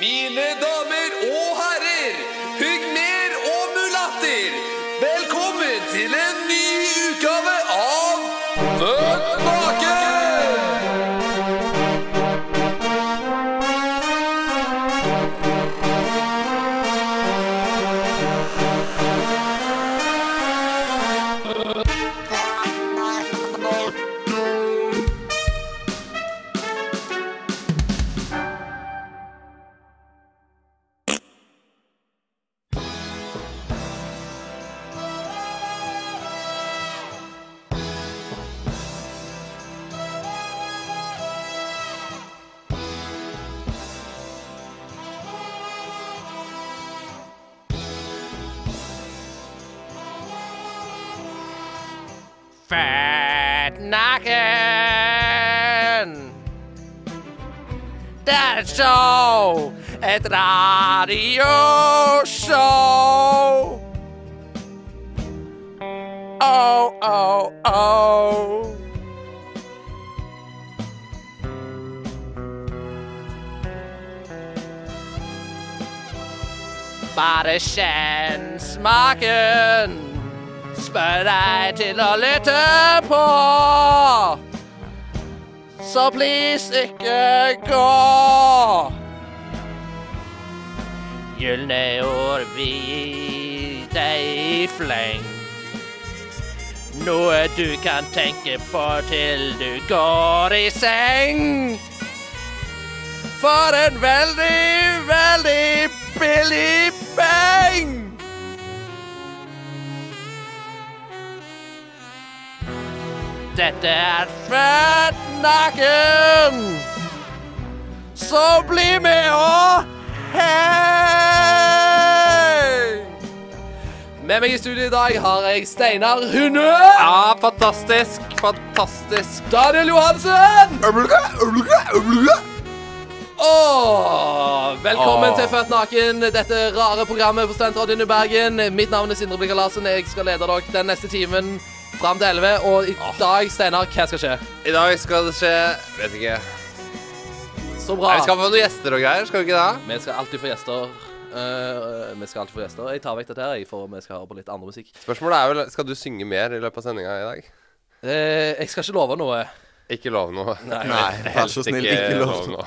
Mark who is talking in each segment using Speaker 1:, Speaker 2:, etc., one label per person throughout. Speaker 1: Mine damer og herrer, pygmer og mulatter, velkommen til en ny utgave av Født naken!
Speaker 2: Fat Naken. Det er et show, et radioshow. Oh, oh, oh. Bare kjenn smaken. Spør deg til å lytte på. Så please ikke gå. Gylne ord vi gir deg i fleng. Noe du kan tenke på til du går i seng. For en veldig, veldig billig peng. Dette er Fett Nakken! Så bli med og hei!
Speaker 1: Med meg i studio i dag har jeg Steinar Hunde,
Speaker 2: Ja, fantastisk, fantastisk.
Speaker 1: Daniel Johansen og velkommen
Speaker 2: Åh.
Speaker 1: til Født naken, dette rare programmet på Studentradioen i Bergen. Mitt navn er Sindre Blikka Larsen, jeg skal lede dere den neste timen fram til 11. Og i dag, Steinar, hva skal skje?
Speaker 2: I dag skal det skje Vet ikke.
Speaker 1: Så
Speaker 2: Nei,
Speaker 1: bra.
Speaker 2: vi skal få noen gjester og greier, skal vi ikke det?
Speaker 1: Vi skal alltid få gjester. Eh, vi skal alltid få gjester. Jeg tar vekk dette her, jeg, for vi skal høre på litt andre musikk.
Speaker 2: Spørsmålet er vel skal du synge mer i løpet av sendinga i dag?
Speaker 1: Eh, jeg skal ikke love noe.
Speaker 2: Ikke lov noe. Nei,
Speaker 3: vær så snill, ikke lov
Speaker 2: noe.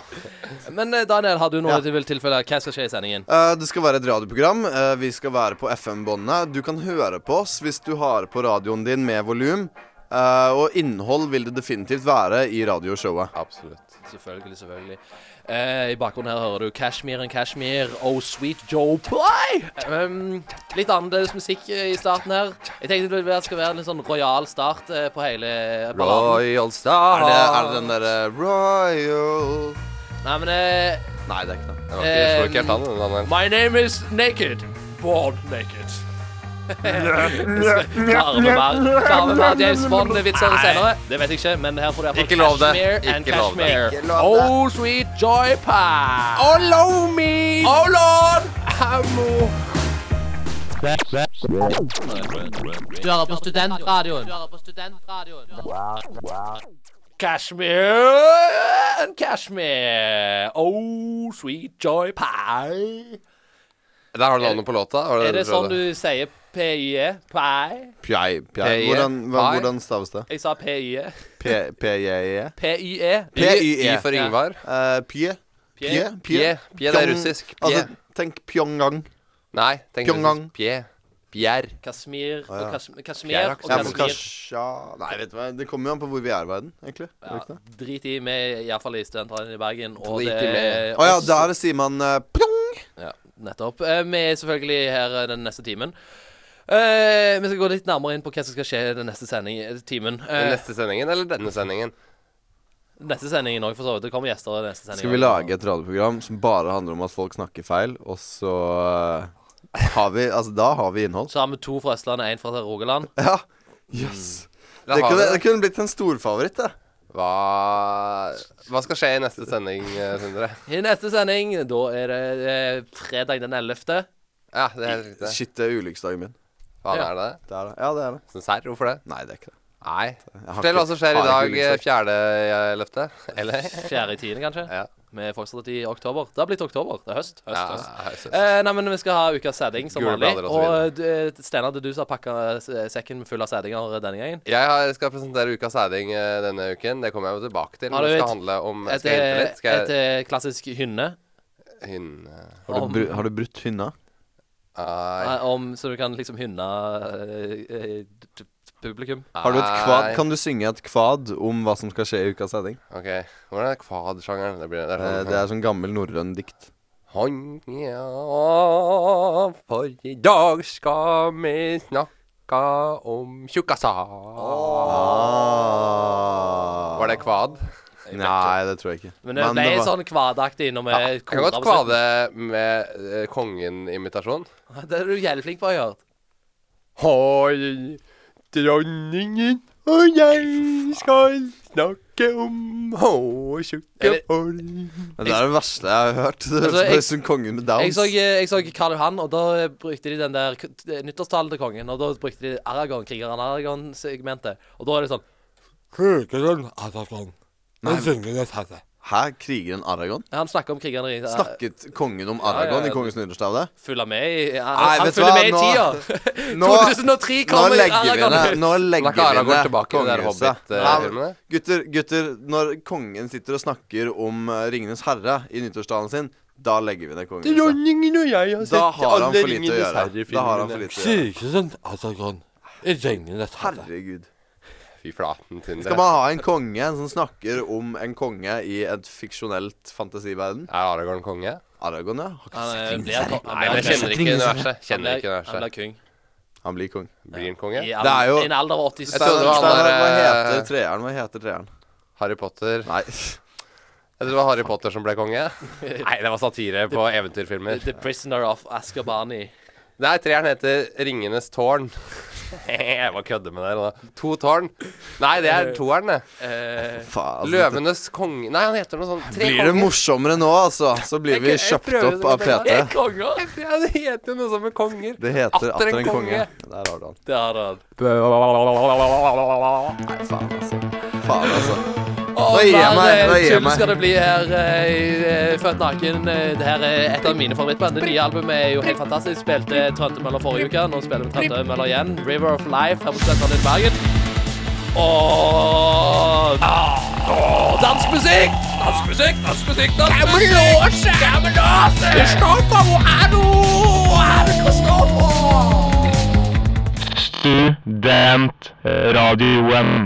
Speaker 1: Men eh, Daniel, har du noe
Speaker 3: Ja.
Speaker 1: du vil tilfelle? Hva skal skje i sendingen?
Speaker 3: Eh, Det skal være et radioprogram. Eh, Vi skal være på FM-båndet. Du kan høre på oss hvis du har på radioen din med volum. Eh, Og innhold vil det definitivt være i radioshowet.
Speaker 2: Absolutt.
Speaker 1: Selvfølgelig, selvfølgelig. Eh, I bakgrunnen her hører du Kashmir and Kashmir, Oh Sweet Joe Play. Um, litt annerledes musikk eh, i starten her. Jeg tenkte det skal være en litt sånn rojal start eh, på hele balladen.
Speaker 3: Royal Star. Er det, er det den derre Royal
Speaker 1: Nei, men eh,
Speaker 3: Nei, det er ikke det.
Speaker 2: Den var ikke,
Speaker 1: Eh,
Speaker 2: slår ikke helt an, den andre.
Speaker 1: My name is Naked. Born Naked. Klarer vi mer- klarer vi mer James Bond-vitser senere? Det vet jeg ikke, men her får du
Speaker 2: Ikke lov det.
Speaker 1: Kashmir and
Speaker 2: Ikke lov det.
Speaker 1: Kashmir.
Speaker 3: Ikke lov det.
Speaker 1: Oh, sweet joy pie.
Speaker 3: Oh, love me!
Speaker 1: Oh, lord! Du hører på studentradioen. Kashmir and Kashmir. Oh, sweet joy pie.
Speaker 2: Der har du navnet på låta. var
Speaker 1: Er det
Speaker 2: du
Speaker 1: sånn
Speaker 2: prøvde?
Speaker 1: du sier E? PIE? Pie?
Speaker 3: Pjei, pjei.
Speaker 2: P-I-E.
Speaker 3: Hvordan, hva-
Speaker 2: Pie.
Speaker 3: hvordan staves det?
Speaker 1: Jeg sa E. PIE.
Speaker 3: P- P-j-e?
Speaker 1: PIE.
Speaker 2: I,
Speaker 3: P-Y-E.
Speaker 2: I for Yngvar.
Speaker 3: Eh, Pje.
Speaker 1: Pie.
Speaker 3: Pje.
Speaker 2: Pje. Pje,
Speaker 3: Pje.
Speaker 2: det er
Speaker 3: Pjong-
Speaker 2: russisk. Pje.
Speaker 3: Altså, tenk Pjongang.
Speaker 2: Nei, tenk russisk.
Speaker 3: Pyongyang.
Speaker 2: Pje. Pjer.
Speaker 1: Kashmir og
Speaker 3: Å, ja.
Speaker 1: Kash- Kashmir
Speaker 2: Fjerde
Speaker 1: og
Speaker 2: akse.
Speaker 3: Ja, for
Speaker 1: Kashmir.
Speaker 3: kanskje- Nei, vet du hva. Det kommer jo an på hvor vi er i verden, egentlig. Gjør det ikke det?
Speaker 1: Ja, drit i, vi er iallfall i studentradioen i Bergen. Og
Speaker 2: Drit i
Speaker 1: det
Speaker 2: meg.
Speaker 1: er
Speaker 3: Å ja,
Speaker 1: oss-
Speaker 3: der sier man eh, plong.
Speaker 1: Ja, nettopp. Eh, Vi er selvfølgelig her eh, den neste timen. Eh, vi skal gå litt nærmere inn på hva som skal skje i den neste sending, eh, timen. Eh,
Speaker 2: Den neste sendingen eller denne sendingen?
Speaker 1: neste sendingen òg, for så vidt. Det kommer gjester i den neste sendingen.
Speaker 3: Skal vi lage et radioprogram som bare handler om at folk snakker feil, og så eh, har vi Altså, da har vi innhold. Mm.
Speaker 1: Så har vi to fra Østlandet, én fra Rogaland.
Speaker 3: Ja. Jøss.
Speaker 2: Da
Speaker 3: Det,
Speaker 2: har
Speaker 3: kunne-
Speaker 2: vi
Speaker 3: det kunne blitt en storfavoritt, det.
Speaker 2: Hva, hva skal skje i neste sending, eh, Sindre?
Speaker 1: I neste sending, da er det eh, fredag den 11.
Speaker 2: Ja, det er helt riktig.
Speaker 3: Shit, det er ulykkesdagen min.
Speaker 2: Hva
Speaker 1: Ja.
Speaker 2: er det?
Speaker 3: Det er det. Ja, det er det.
Speaker 2: Sånn serr? Hvorfor det?
Speaker 3: Nei, det er ikke det.
Speaker 2: Nei.
Speaker 3: Jeg har
Speaker 2: Fortell hva
Speaker 3: ikke-
Speaker 2: som skjer i
Speaker 3: har ikke
Speaker 2: dag, eh,
Speaker 3: ulykkesdag.
Speaker 2: fjerde eh, løfte. Eller?
Speaker 1: Fjerde i tiende, kanskje.
Speaker 2: Ja.
Speaker 1: Vi er fortsatt i oktober. Det har blitt oktober. Det er høst. høst,
Speaker 2: Ja,
Speaker 1: høst.
Speaker 2: jeg synes-
Speaker 1: Eh, nei, men vi skal ha ukas sæding som
Speaker 2: Gule
Speaker 1: vanlig.
Speaker 2: blader og så videre.
Speaker 1: Og eh, Steinar, det er du som har pakka sekken full av sædinger denne gangen.
Speaker 2: Jeg har- skal presentere ukas sæding eh, denne uken. Det kommer jeg jo tilbake til.
Speaker 1: Har du
Speaker 2: Men det skal
Speaker 1: et-
Speaker 2: handle om
Speaker 1: Et,
Speaker 2: Skal jeg hjelpe
Speaker 1: eh,
Speaker 2: litt? Skal
Speaker 1: et
Speaker 2: jeg
Speaker 1: eh, klassisk hynne
Speaker 2: Hynne
Speaker 3: Har du,
Speaker 1: Om-
Speaker 3: bru- har du brutt hynna?
Speaker 2: Ai.
Speaker 1: eh, om, så du kan liksom hynne eh, eh, d- d- publikum.
Speaker 3: Har du et kvad?
Speaker 2: Ai.
Speaker 3: Kan du synge et kvad om hva som skal skje i ukas sending?
Speaker 2: OK. Hvordan er kvadsjangeren? Det, blir, det er
Speaker 3: Eh,
Speaker 2: sånn
Speaker 3: Det er sånn gammel norrøn dikt.
Speaker 2: Honja, for i dag skal vi snakke om tjukkasa.
Speaker 3: Ah.
Speaker 2: Var det kvad?
Speaker 3: Nei, det tror jeg ikke.
Speaker 1: Men det ble
Speaker 3: var-
Speaker 1: sånn kvadaktig når vi
Speaker 3: Eh,
Speaker 2: Jeg kan
Speaker 1: koret
Speaker 2: godt
Speaker 1: på slutten.
Speaker 2: kvade med eh, kongen-imitasjon.
Speaker 1: Det er du jævlig flink på, Jørn.
Speaker 2: Hoi, dronningen og jeg skal snakke om hårtjukke
Speaker 1: Eller-
Speaker 2: folk.
Speaker 3: Det er det verste jeg har hørt. Det
Speaker 1: Altså,
Speaker 3: høres
Speaker 1: jeg-
Speaker 3: ut som kongen med
Speaker 1: Jeg
Speaker 3: downs.
Speaker 1: så, eh, jeg så Karl Johan, og da eh, brukte de den der k- t- nyttårstalen til kongen. Og da brukte de Aragon, krigeren Aragon-segmentet. Og da er det sånn
Speaker 4: Krøkeren er da sånn. Den synger det samme.
Speaker 3: Hæ? Krigeren Aragon?
Speaker 1: Han snakker om krigeren i
Speaker 3: Snakket kongen om
Speaker 1: Ja,
Speaker 3: Aragon
Speaker 1: ja, ja.
Speaker 3: i Kongens nyttårstale?
Speaker 1: Følger med i Han,
Speaker 3: Nei,
Speaker 1: han
Speaker 3: vet du
Speaker 1: følger
Speaker 3: hva,
Speaker 1: med i
Speaker 3: nå-
Speaker 1: tida.
Speaker 3: Nå,
Speaker 1: 2003
Speaker 3: nå
Speaker 1: kommer
Speaker 3: legger vi
Speaker 1: Aragon
Speaker 3: ned
Speaker 1: ut.
Speaker 3: Nå legger
Speaker 2: Snakker
Speaker 3: vi
Speaker 2: Aragon
Speaker 3: ned
Speaker 2: tilbake til det der
Speaker 3: kongehuset.
Speaker 2: Hobbit-filmen der?
Speaker 3: Nei, Gutter, gutter, når kongen sitter og snakker om eh, Ringenes herre i nyttårstalen sin, da legger vi ned kongehuset.
Speaker 2: Dronningen og jeg har
Speaker 3: Da har han for lite å gjøre. Da har han for lite å gjøre.
Speaker 4: Krøkeren er da sånn. Den synger det samme.
Speaker 3: Herregud.
Speaker 2: Fy flaten til
Speaker 3: Skal man ha en konge som snakker om en konge i et fiksjonelt fantasiverden?
Speaker 2: Er Aragorn konge?
Speaker 3: Aragon, ja. Har ikke
Speaker 1: Han eh, blir
Speaker 3: sett Ringenes herre.
Speaker 1: han
Speaker 2: Nei, men
Speaker 1: blir-
Speaker 2: jeg kjenner ikke universet.
Speaker 1: han
Speaker 2: Kjenner ikke
Speaker 1: blir- Han blir
Speaker 2: universet.
Speaker 1: kong.
Speaker 3: Han blir kong.
Speaker 2: Blir han konge?
Speaker 1: I
Speaker 3: Det er
Speaker 1: al-
Speaker 3: jo-
Speaker 1: i en alder av 80
Speaker 2: Jeg trodde det var han
Speaker 3: Steinar,
Speaker 2: der,
Speaker 3: hva
Speaker 2: eh,
Speaker 3: heter treeren? Hva heter treeren?
Speaker 2: Harry Potter Jeg
Speaker 3: Nei.
Speaker 2: tror det var Harry Potter som ble konge. Nei, det var satire på eventyrfilmer.
Speaker 1: The Prisoner of Askabani.
Speaker 2: Nei, treeren heter Ringenes tårn. Jeg bare kødder med dere da. To tårn. Nei, det er toeren, det.
Speaker 1: Eh,
Speaker 3: Faen. altså.
Speaker 2: Løvenes konge Nei, han heter noe sånn Tre
Speaker 3: Blir det morsommere nå, altså, så blir vi
Speaker 2: Jeg- jeg
Speaker 3: kjøpt
Speaker 2: prøver
Speaker 3: opp av
Speaker 2: det, men
Speaker 1: er
Speaker 3: PT.
Speaker 1: konger!
Speaker 2: Ja, det heter jo noe sånt med konger.
Speaker 3: Det heter
Speaker 2: Atter en
Speaker 3: Atter en konge.
Speaker 2: konge.
Speaker 3: Der har du han.
Speaker 1: Det har han.
Speaker 3: Nei, faen, altså. Faen, altså.
Speaker 1: Og
Speaker 3: Nå gir jeg meg,
Speaker 1: mer
Speaker 3: nå
Speaker 1: eh,
Speaker 3: gir jeg
Speaker 1: tull
Speaker 3: meg.
Speaker 1: skal det bli her eh, i eh, Født naken. Eh, Det her er et av mine favorittband. Det nye albumet er jo helt fantastisk. Spilte Trøndemøller forrige uke. Nå spiller vi Trøndemøller igjen. River of Life her på Studentlandet i Bergen. Og Åh, Dansk musikk! Dansk musikk, dansk musikk, dansk musikk! Gammelåse! Kristoffer, hvor er du? Hvor er du, Kristoffer?
Speaker 5: Studentradioen.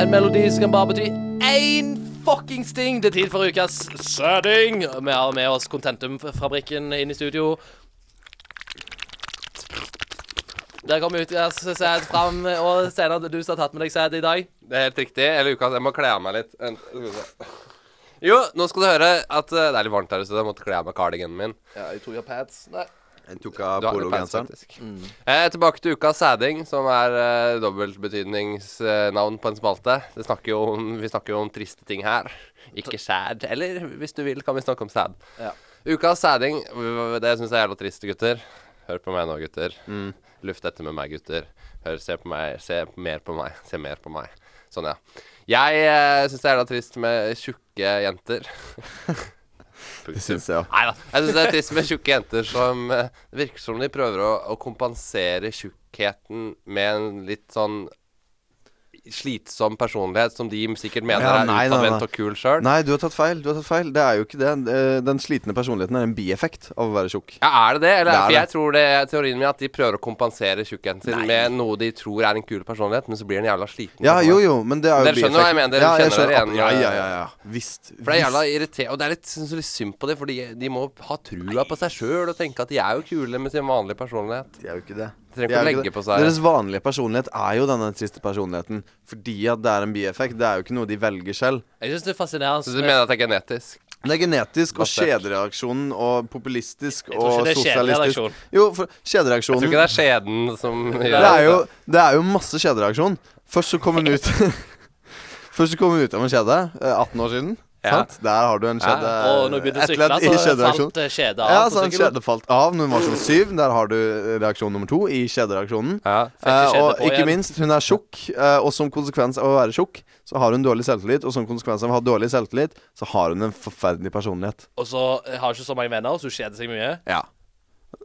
Speaker 1: En melodi som kan bare bety én fuckings ting. Det er tid for ukas sæding. Vi har med oss Contentum-fabrikken inn i studio. Der kom ukas sæd fram, og Steinar, det er du som har tatt med deg sæd i dag.
Speaker 2: Det er helt riktig. Eller Lukas, jeg må kle av meg litt. Vent, skal vi se. Jo, nå skal du høre at eh, det er litt varmt her ute, så jeg måtte kle av meg cardiganen min.
Speaker 1: Ja, jeg tror jeg har pads. Nei.
Speaker 3: Jeg tok av
Speaker 2: Du har jo pants,
Speaker 3: pologenseren.
Speaker 2: faktisk. Eh, tilbake til ukas sæding, som er eh, dobbeltbetydningsnavn på en spalte. Det snakker jo om, vi snakker jo om triste ting her. Ikke sæd. Eller hvis du vil, kan vi snakke om sæd.
Speaker 1: Ja.
Speaker 2: Ukas sæding, v- v- det syns jeg er jævla trist, gutter. Hør på meg nå, gutter. Luft dette med meg, gutter. Hør, se på meg. Se mer på meg. Se mer på meg. Sånn, ja. Jeg eh, syns det er jævla trist med tjukke jenter.
Speaker 3: Det syns jeg òg.
Speaker 2: Nei da. Jeg syns det er trist med tjukke jenter som eh, Det virker som de prøver å, å kompensere tjukkheten med en litt sånn slitsom personlighet som de sikkert mener
Speaker 3: Ja, nei,
Speaker 2: er
Speaker 3: nei, nei.
Speaker 2: utadvendt og kul sjøl.
Speaker 3: Nei, du har tatt feil. Du har tatt feil. Det er jo ikke det. Eh, Den slitne personligheten er en bieffekt av å være tjukk.
Speaker 2: Ja, er det det? Eller,
Speaker 3: Det er
Speaker 2: for jeg
Speaker 3: det.
Speaker 2: tror det er teorien min at de prøver å kompensere tjukkheten sin med noe de tror er en kul personlighet, men så blir den jævla sliten.
Speaker 3: Ja,
Speaker 2: personlighet.
Speaker 3: jo, jo, men det er jo
Speaker 2: Dere skjønner hva jeg mener, dere
Speaker 3: Ja,
Speaker 2: kjenner dere
Speaker 3: skjønner.
Speaker 2: igjen,
Speaker 3: Ja,
Speaker 2: eh,
Speaker 3: ja, ja, ja. Visst.
Speaker 2: For det er jævla
Speaker 3: visst.
Speaker 2: irriterende, og det er litt, synes jeg litt synd på det, for de, de må ha trua på seg sjøl og tenke at de er jo kule med sin vanlige personlighet.
Speaker 3: De er jo ikke det.
Speaker 2: Trenger
Speaker 3: De er
Speaker 2: ikke å
Speaker 3: jo ikke
Speaker 2: legge
Speaker 3: det.
Speaker 2: på seg.
Speaker 3: Deres vanlige personlighet er jo denne triste personligheten. Fordi at det er en bieffekt. Det er jo ikke noe de velger selv.
Speaker 1: Jeg syns det er fascinerende
Speaker 2: Så du mener at det er genetisk?
Speaker 3: Det er genetisk og
Speaker 2: Basert.
Speaker 3: kjedereaksjonen og populistisk
Speaker 1: tror
Speaker 3: og
Speaker 1: ikke det er
Speaker 3: sosialistisk.
Speaker 1: kjedereaksjon.
Speaker 3: Jo,
Speaker 2: Jeg
Speaker 3: for
Speaker 2: tror
Speaker 3: kjedereaksjonen
Speaker 2: ikke det er skjeden som gjør
Speaker 3: det er, jo, det er jo masse kjedereaksjon. Først så kom hun ut Først så kom hun ut av en kjede eh, 18 år siden.
Speaker 2: Ja.
Speaker 3: Sant? Der har du en kjede.
Speaker 1: Og når hun begynte å
Speaker 3: et
Speaker 1: sykle,
Speaker 3: ledd i
Speaker 1: så
Speaker 3: kjedereaksjon.
Speaker 1: falt eh, kjeda
Speaker 3: Ja,
Speaker 1: av
Speaker 3: så
Speaker 1: på
Speaker 3: en
Speaker 1: sykkelen.
Speaker 3: kjede falt av når hun var som syv. Der har du eh, reaksjon nummer to i kjedereaksjonen.
Speaker 2: Ja.
Speaker 1: Fikk ikke
Speaker 3: Eh, og
Speaker 1: kjede på
Speaker 3: ikke
Speaker 1: igjen.
Speaker 3: minst, hun er tjukk, eh, og som konsekvens av å være tjukk, så har hun dårlig selvtillit. Og som konsekvens av å ha dårlig selvtillit, så har hun en forferdelig personlighet.
Speaker 1: Og så eh, har hun ikke så mange venner, så hun kjeder seg mye.
Speaker 3: Ja.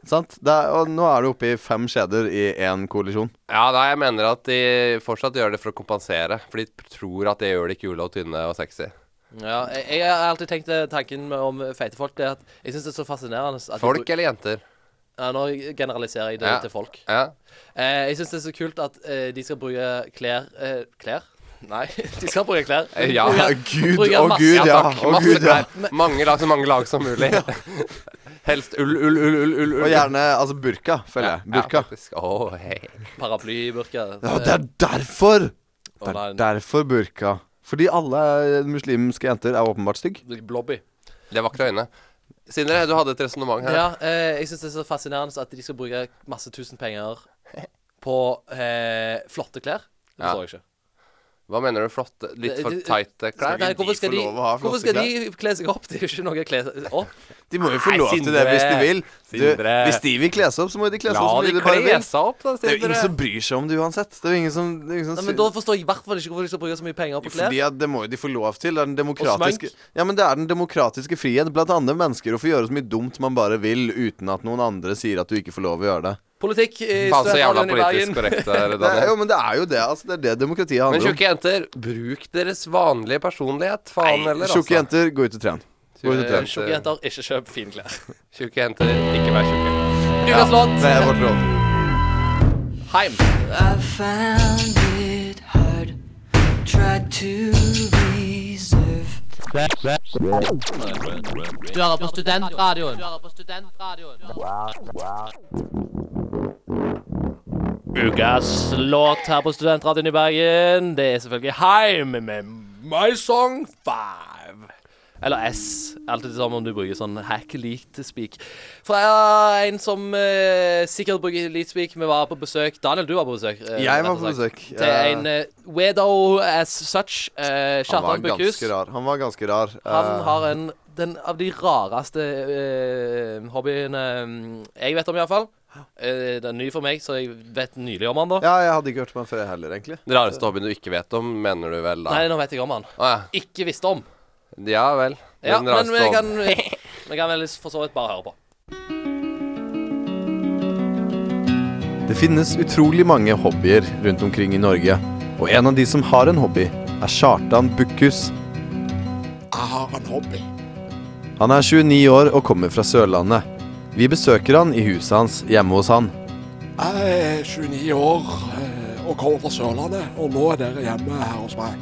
Speaker 3: Sant? Det er, og nå er du oppe i fem kjeder i én kollisjon.
Speaker 2: Ja, nei, jeg mener at de fortsatt gjør det for å kompensere. For de tror at det gjør de kule og tynne og sexy.
Speaker 1: Ja, jeg, jeg har alltid tenkt eh, tanken med- om feite folk det er at jeg syns det er så fascinerende at de
Speaker 2: Folk
Speaker 1: bru-
Speaker 2: eller jenter?
Speaker 1: ja, Nå generaliserer jeg det
Speaker 2: Ja.
Speaker 1: til folk.
Speaker 2: Ja.
Speaker 1: Eh, jeg syns det er så kult at eh, de skal bruke klær eh, Klær? Nei, de skal bruke klær.
Speaker 2: Eh, ja.
Speaker 1: Bruke-
Speaker 3: Gud,
Speaker 1: bruke
Speaker 3: å
Speaker 1: masse-
Speaker 3: gud, ja.
Speaker 2: takk.
Speaker 3: Å
Speaker 2: Masse
Speaker 3: gud, ja.
Speaker 2: klær. Mange lag, så mange lag som mulig. Helst ull, ull, ull, ull, ull.
Speaker 3: Og gjerne altså burka, føler jeg. Burka.
Speaker 2: Ja, oh, hei.
Speaker 1: Paraplybyrke.
Speaker 3: Ja, det er derfor! Det
Speaker 1: nei.
Speaker 3: er derfor burka. Fordi alle muslimske jenter er åpenbart stygg.
Speaker 1: Eh, Blobby.
Speaker 2: Det er vakre øyne. Sindre, du hadde et resonnement her.
Speaker 1: Ja, eh, jeg syns det er så fascinerende at de skal bruke masse tusen penger på eh, flotte klær. Det
Speaker 2: Ja.
Speaker 1: forstår jeg ikke.
Speaker 2: Hva mener du? Flotte, litt for
Speaker 1: Det- det-
Speaker 2: tighte klær?
Speaker 1: Nei, hvorfor skal,
Speaker 3: få
Speaker 1: de,
Speaker 3: lov å ha flotte
Speaker 1: hvorfor skal de kle seg opp? Det er jo ikke noe å kle seg opp.
Speaker 3: De må jo få
Speaker 2: Nei,
Speaker 3: lov til det hvis de
Speaker 2: Sindre.
Speaker 3: vil. Du,
Speaker 2: Sindre.
Speaker 3: hvis de vil kle seg opp, så må de kle seg
Speaker 2: La
Speaker 3: opp. så mye
Speaker 2: de
Speaker 3: de bare
Speaker 2: kle
Speaker 3: vil.
Speaker 2: seg opp, da,
Speaker 3: Det er jo
Speaker 2: Sindre.
Speaker 3: ingen som bryr seg om det uansett. Det er jo ingen som, det er jo ingen som
Speaker 1: Nei, men Da forstår jeg i hvert fall ikke hvorfor de skal bruke så mye penger på klær.
Speaker 3: Fordi at Det må jo de få lov til. Det er den demokratiske
Speaker 1: smank.
Speaker 3: Ja, men det er den demokratiske frihet blant andre mennesker å få gjøre så mye dumt man bare vil, uten at noen andre sier at du ikke får lov å gjøre det.
Speaker 1: Politikk i
Speaker 2: Faen så jævla
Speaker 1: Studentradioen i
Speaker 2: politisk
Speaker 1: Bergen.
Speaker 2: korrekt der,
Speaker 3: det er,
Speaker 2: Daniel.
Speaker 3: jo, men det er jo det. Altså, det er det demokratiet
Speaker 2: Men
Speaker 3: handler om.
Speaker 2: tjukke jenter, bruk deres vanlige personlighet. Faen heller, altså.
Speaker 3: Tjukke jenter, gå ut og tren. Gå ut og
Speaker 2: Eh,
Speaker 3: tren.
Speaker 1: Tjukke jenter, ikke kjøp fine klær.
Speaker 2: Tjukke jenter, ikke vær tjukke.
Speaker 1: Ukas låt,
Speaker 3: Det er vårt råd.
Speaker 1: Heim.
Speaker 6: I found it hard, tried to reserve.
Speaker 7: Du hører på Studentradioen.
Speaker 1: Ukas låt her på Studentradioen i Bergen. Det er selvfølgelig Heim med My Song 5. Eller S. Alltid det samme om du bruker sånn hack leaked speak. Fra en som eh, sikkert bruker leaked speak. Vi var på besøk Daniel, du var på besøk. eh,
Speaker 3: Jeg var
Speaker 1: rett og
Speaker 3: på
Speaker 1: slett.
Speaker 3: besøk,
Speaker 1: Til
Speaker 3: eh,
Speaker 1: en eh, weirdo as such. eh,
Speaker 3: Han var
Speaker 1: Kjartan Bukhus.
Speaker 3: ganske rar. Han var ganske rar.
Speaker 1: Han
Speaker 3: Eh,
Speaker 1: har en den av de rareste eh, hobbyene eh, jeg vet om, iallfall. Uh, den er ny for meg, så jeg vet nylig om han da.
Speaker 3: Eh, Ja, jeg hadde ikke hørt om han før jeg heller, egentlig.
Speaker 2: Den rareste hobbyen du ikke vet om, mener du vel da?
Speaker 1: Nei, nå vet jeg om han.
Speaker 2: Å,
Speaker 1: Ikke visste om.
Speaker 2: ja. ja vel. Den
Speaker 1: Ja, men
Speaker 2: rareste
Speaker 1: vi kan,
Speaker 2: hobbyen.
Speaker 1: vi kan vel for så vidt bare høre på.
Speaker 3: Det finnes utrolig mange hobbyer rundt omkring i Norge, og en av de som har en hobby, er Kjartan Bukkhus.
Speaker 4: Jeg har en hobby.
Speaker 3: Han er 29 år og kommer fra Sørlandet. Vi besøker han i huset hans hjemme hos han.
Speaker 4: Jeg er 29 år eh, og kommer fra Sørlandet, og nå er dere hjemme her hos meg.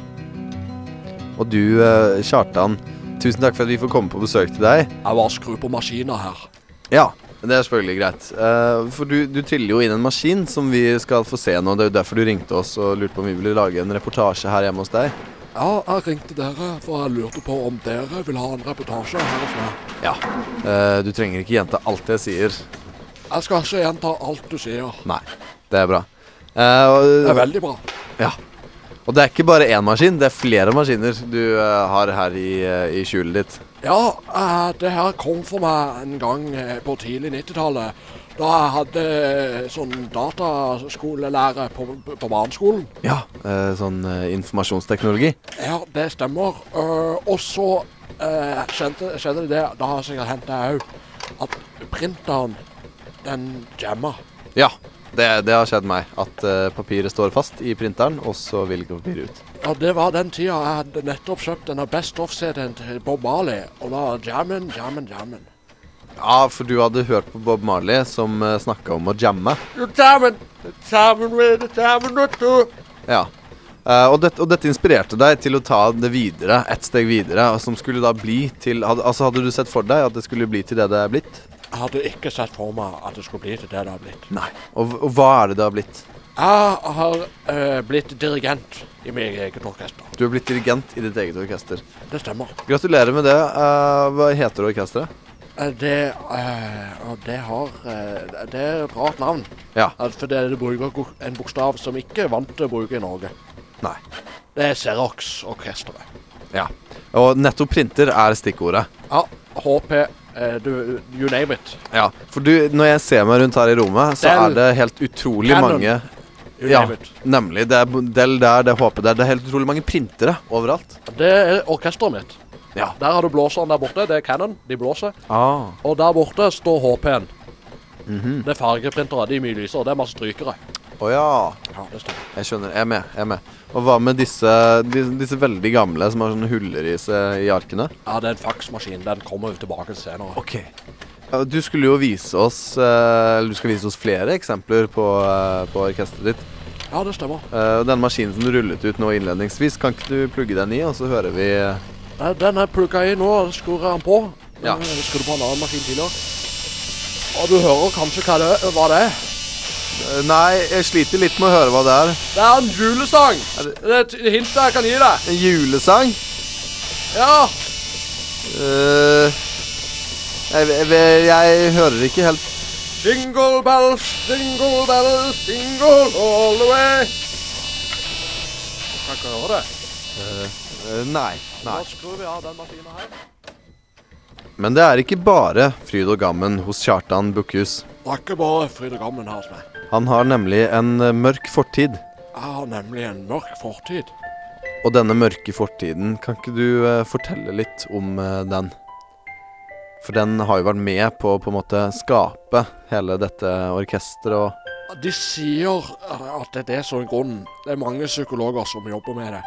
Speaker 3: Og du, eh, Kjartan, tusen takk for at vi får komme på besøk til deg.
Speaker 4: Jeg bare skrur på maskiner her.
Speaker 3: Ja, det er selvfølgelig greit. Eh, For du, du triller jo inn en maskin som vi skal få se nå. Det er jo derfor du ringte oss og lurte på om vi ville lage en reportasje her hjemme hos deg.
Speaker 4: Ja, jeg ringte dere, for jeg lurte på om dere vil ha en reportasje her hos meg.
Speaker 3: Ja. eh, Du trenger ikke gjenta alt jeg sier.
Speaker 4: Jeg skal ikke gjenta alt du sier.
Speaker 3: Nei, det er bra. Eh, og-
Speaker 4: Det er veldig bra.
Speaker 3: Ja. Og det er ikke bare én maskin, det er flere maskiner du eh, har her i, eh, i skjulet ditt.
Speaker 4: Ja, eh, det her kom for meg en gang eh, på tidlig 90-tallet. Da jeg hadde eh, sånn dataskolelære på, på barneskolen.
Speaker 3: Ja, eh, sånn eh, informasjonsteknologi.
Speaker 4: Ja, det stemmer. Eh, og så eh, skjedde, skjedde det det, da har sikkert hendt det òg, at printeren, den jamma.
Speaker 3: Ja, det, det har skjedd meg. At eh, papiret står fast i printeren, og så vil ikke papiret ut.
Speaker 4: Ja, det var den tida jeg hadde nettopp kjøpt denne Best Off-CD-en til Bob Marley. Og da jammen, jammen, jammen.
Speaker 3: Ja, for du hadde hørt på Bob Marley som uh, snakka om å jamme.
Speaker 4: Jammen! Jammen with jammen with you.
Speaker 3: Ja. Eh, og, dette- og dette inspirerte deg til å ta det videre, ett steg videre, som skulle da bli til hadde, Altså, hadde du sett for deg at det skulle bli til det det er blitt?
Speaker 4: Jeg hadde ikke sett for meg at det skulle bli til det det har blitt.
Speaker 3: Nei. Og, og hva er det det har blitt?
Speaker 4: Jeg har eh, blitt dirigent i mitt eget orkester.
Speaker 3: Du er blitt dirigent i ditt eget orkester.
Speaker 4: Det stemmer.
Speaker 3: Gratulerer med det. Eh, hva heter orkesteret?
Speaker 4: Eh, Det, eh, og det har eh, Det er et rart navn.
Speaker 3: Ja.
Speaker 4: Eh, For det det bruker go- en bokstav som ikke er vant til å bruke i Norge.
Speaker 3: Nei.
Speaker 4: Det er Xerox-orkesteret.
Speaker 3: Ja. Og nettopp printer er stikkordet.
Speaker 4: Ja, HP eh, du, You name it.
Speaker 3: Ja, for du, når jeg ser meg rundt her i rommet, så
Speaker 4: Del.
Speaker 3: er det helt utrolig
Speaker 4: Canon.
Speaker 3: mange
Speaker 4: You
Speaker 3: Ja,
Speaker 4: name it.
Speaker 3: nemlig. Det er Del der, det er HP der. Det er helt utrolig mange printere overalt.
Speaker 4: Det er orkesteret mitt.
Speaker 3: Ja.
Speaker 4: Der har du blåseren der borte. Det er Cannon. De blåser.
Speaker 3: Ah.
Speaker 4: Og der borte står HP-en.
Speaker 3: Mhm.
Speaker 4: Det er fargeprintere. De er mye lysere. Det er masse strykere.
Speaker 3: Å ja.
Speaker 4: Ja, det stemmer.
Speaker 3: Jeg skjønner. Jeg er med. Jeg er med. Og hva med disse, disse, disse veldig gamle som har sånne huller i seg i arkene?
Speaker 4: Ja, det er en faksmaskin. Den kommer jo tilbake senere.
Speaker 3: Ok. Du skulle jo vise oss eh, Eller du skal vise oss flere eksempler på, eh, på orkesteret ditt.
Speaker 4: Ja, det stemmer.
Speaker 3: Eh, Den maskinen som du rullet ut nå innledningsvis, kan ikke du plugge den i, og så hører vi
Speaker 4: Nei, Eh, Den er plugga i nå. og Skrur jeg den på.
Speaker 3: Ja.
Speaker 4: Ja. Skrur på en annen maskin tidligere. Og du hører kanskje hva det, hva det er.
Speaker 3: Eh, Nei, jeg sliter litt med å høre hva det er.
Speaker 4: Det er en julesang!
Speaker 3: det-
Speaker 4: Det er et hint jeg kan gi deg.
Speaker 3: En julesang?
Speaker 4: Ja,
Speaker 3: Eh, jeg, jeg, jeg, jeg hører ikke helt
Speaker 4: Jingle bells, jingle bells, jingle all the way. Kan ikke høre det.
Speaker 3: Eh, Nei. nei.
Speaker 4: Da skrur vi av den maskinen her.
Speaker 3: Men det er ikke bare fryd og gammen hos Kjartan Bukhus.
Speaker 4: Det er ikke bare fryd og gammen her hos meg.
Speaker 3: Han har nemlig en eh, mørk fortid.
Speaker 4: Jeg har nemlig en mørk fortid.
Speaker 3: Og denne mørke fortiden, kan ikke du eh, fortelle litt om eh, den? For den har jo vært med på å på en måte skape hele dette orkesteret og
Speaker 4: De sier eh, at det er det som er grunnen. Det er mange psykologer som jobber med det.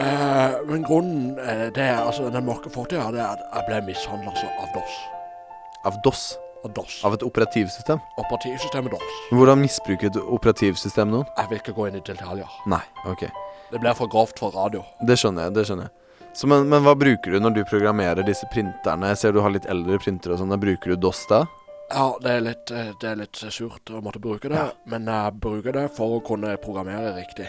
Speaker 4: Eh, men grunnen eh, det er, altså, den mørke fortida det er at jeg ble mishandla av DOS.
Speaker 3: av DOS.
Speaker 4: Av DOS.
Speaker 3: Av et operativsystem.
Speaker 4: Operativsystemet DOS.
Speaker 3: Hvordan misbruker et operativsystem noen?
Speaker 4: Jeg vil ikke gå inn i detaljer.
Speaker 3: Nei, ok.
Speaker 4: Det blir for grovt for radio.
Speaker 3: Det skjønner jeg. det skjønner jeg så, men, men hva bruker du når du programmerer disse printerne? Jeg ser du har litt eldre printere og sånn. da Bruker du DOS da?
Speaker 4: Ja, det er litt, eh, det er litt surt å måtte bruke det, men jeg bruker det for å kunne programmere riktig.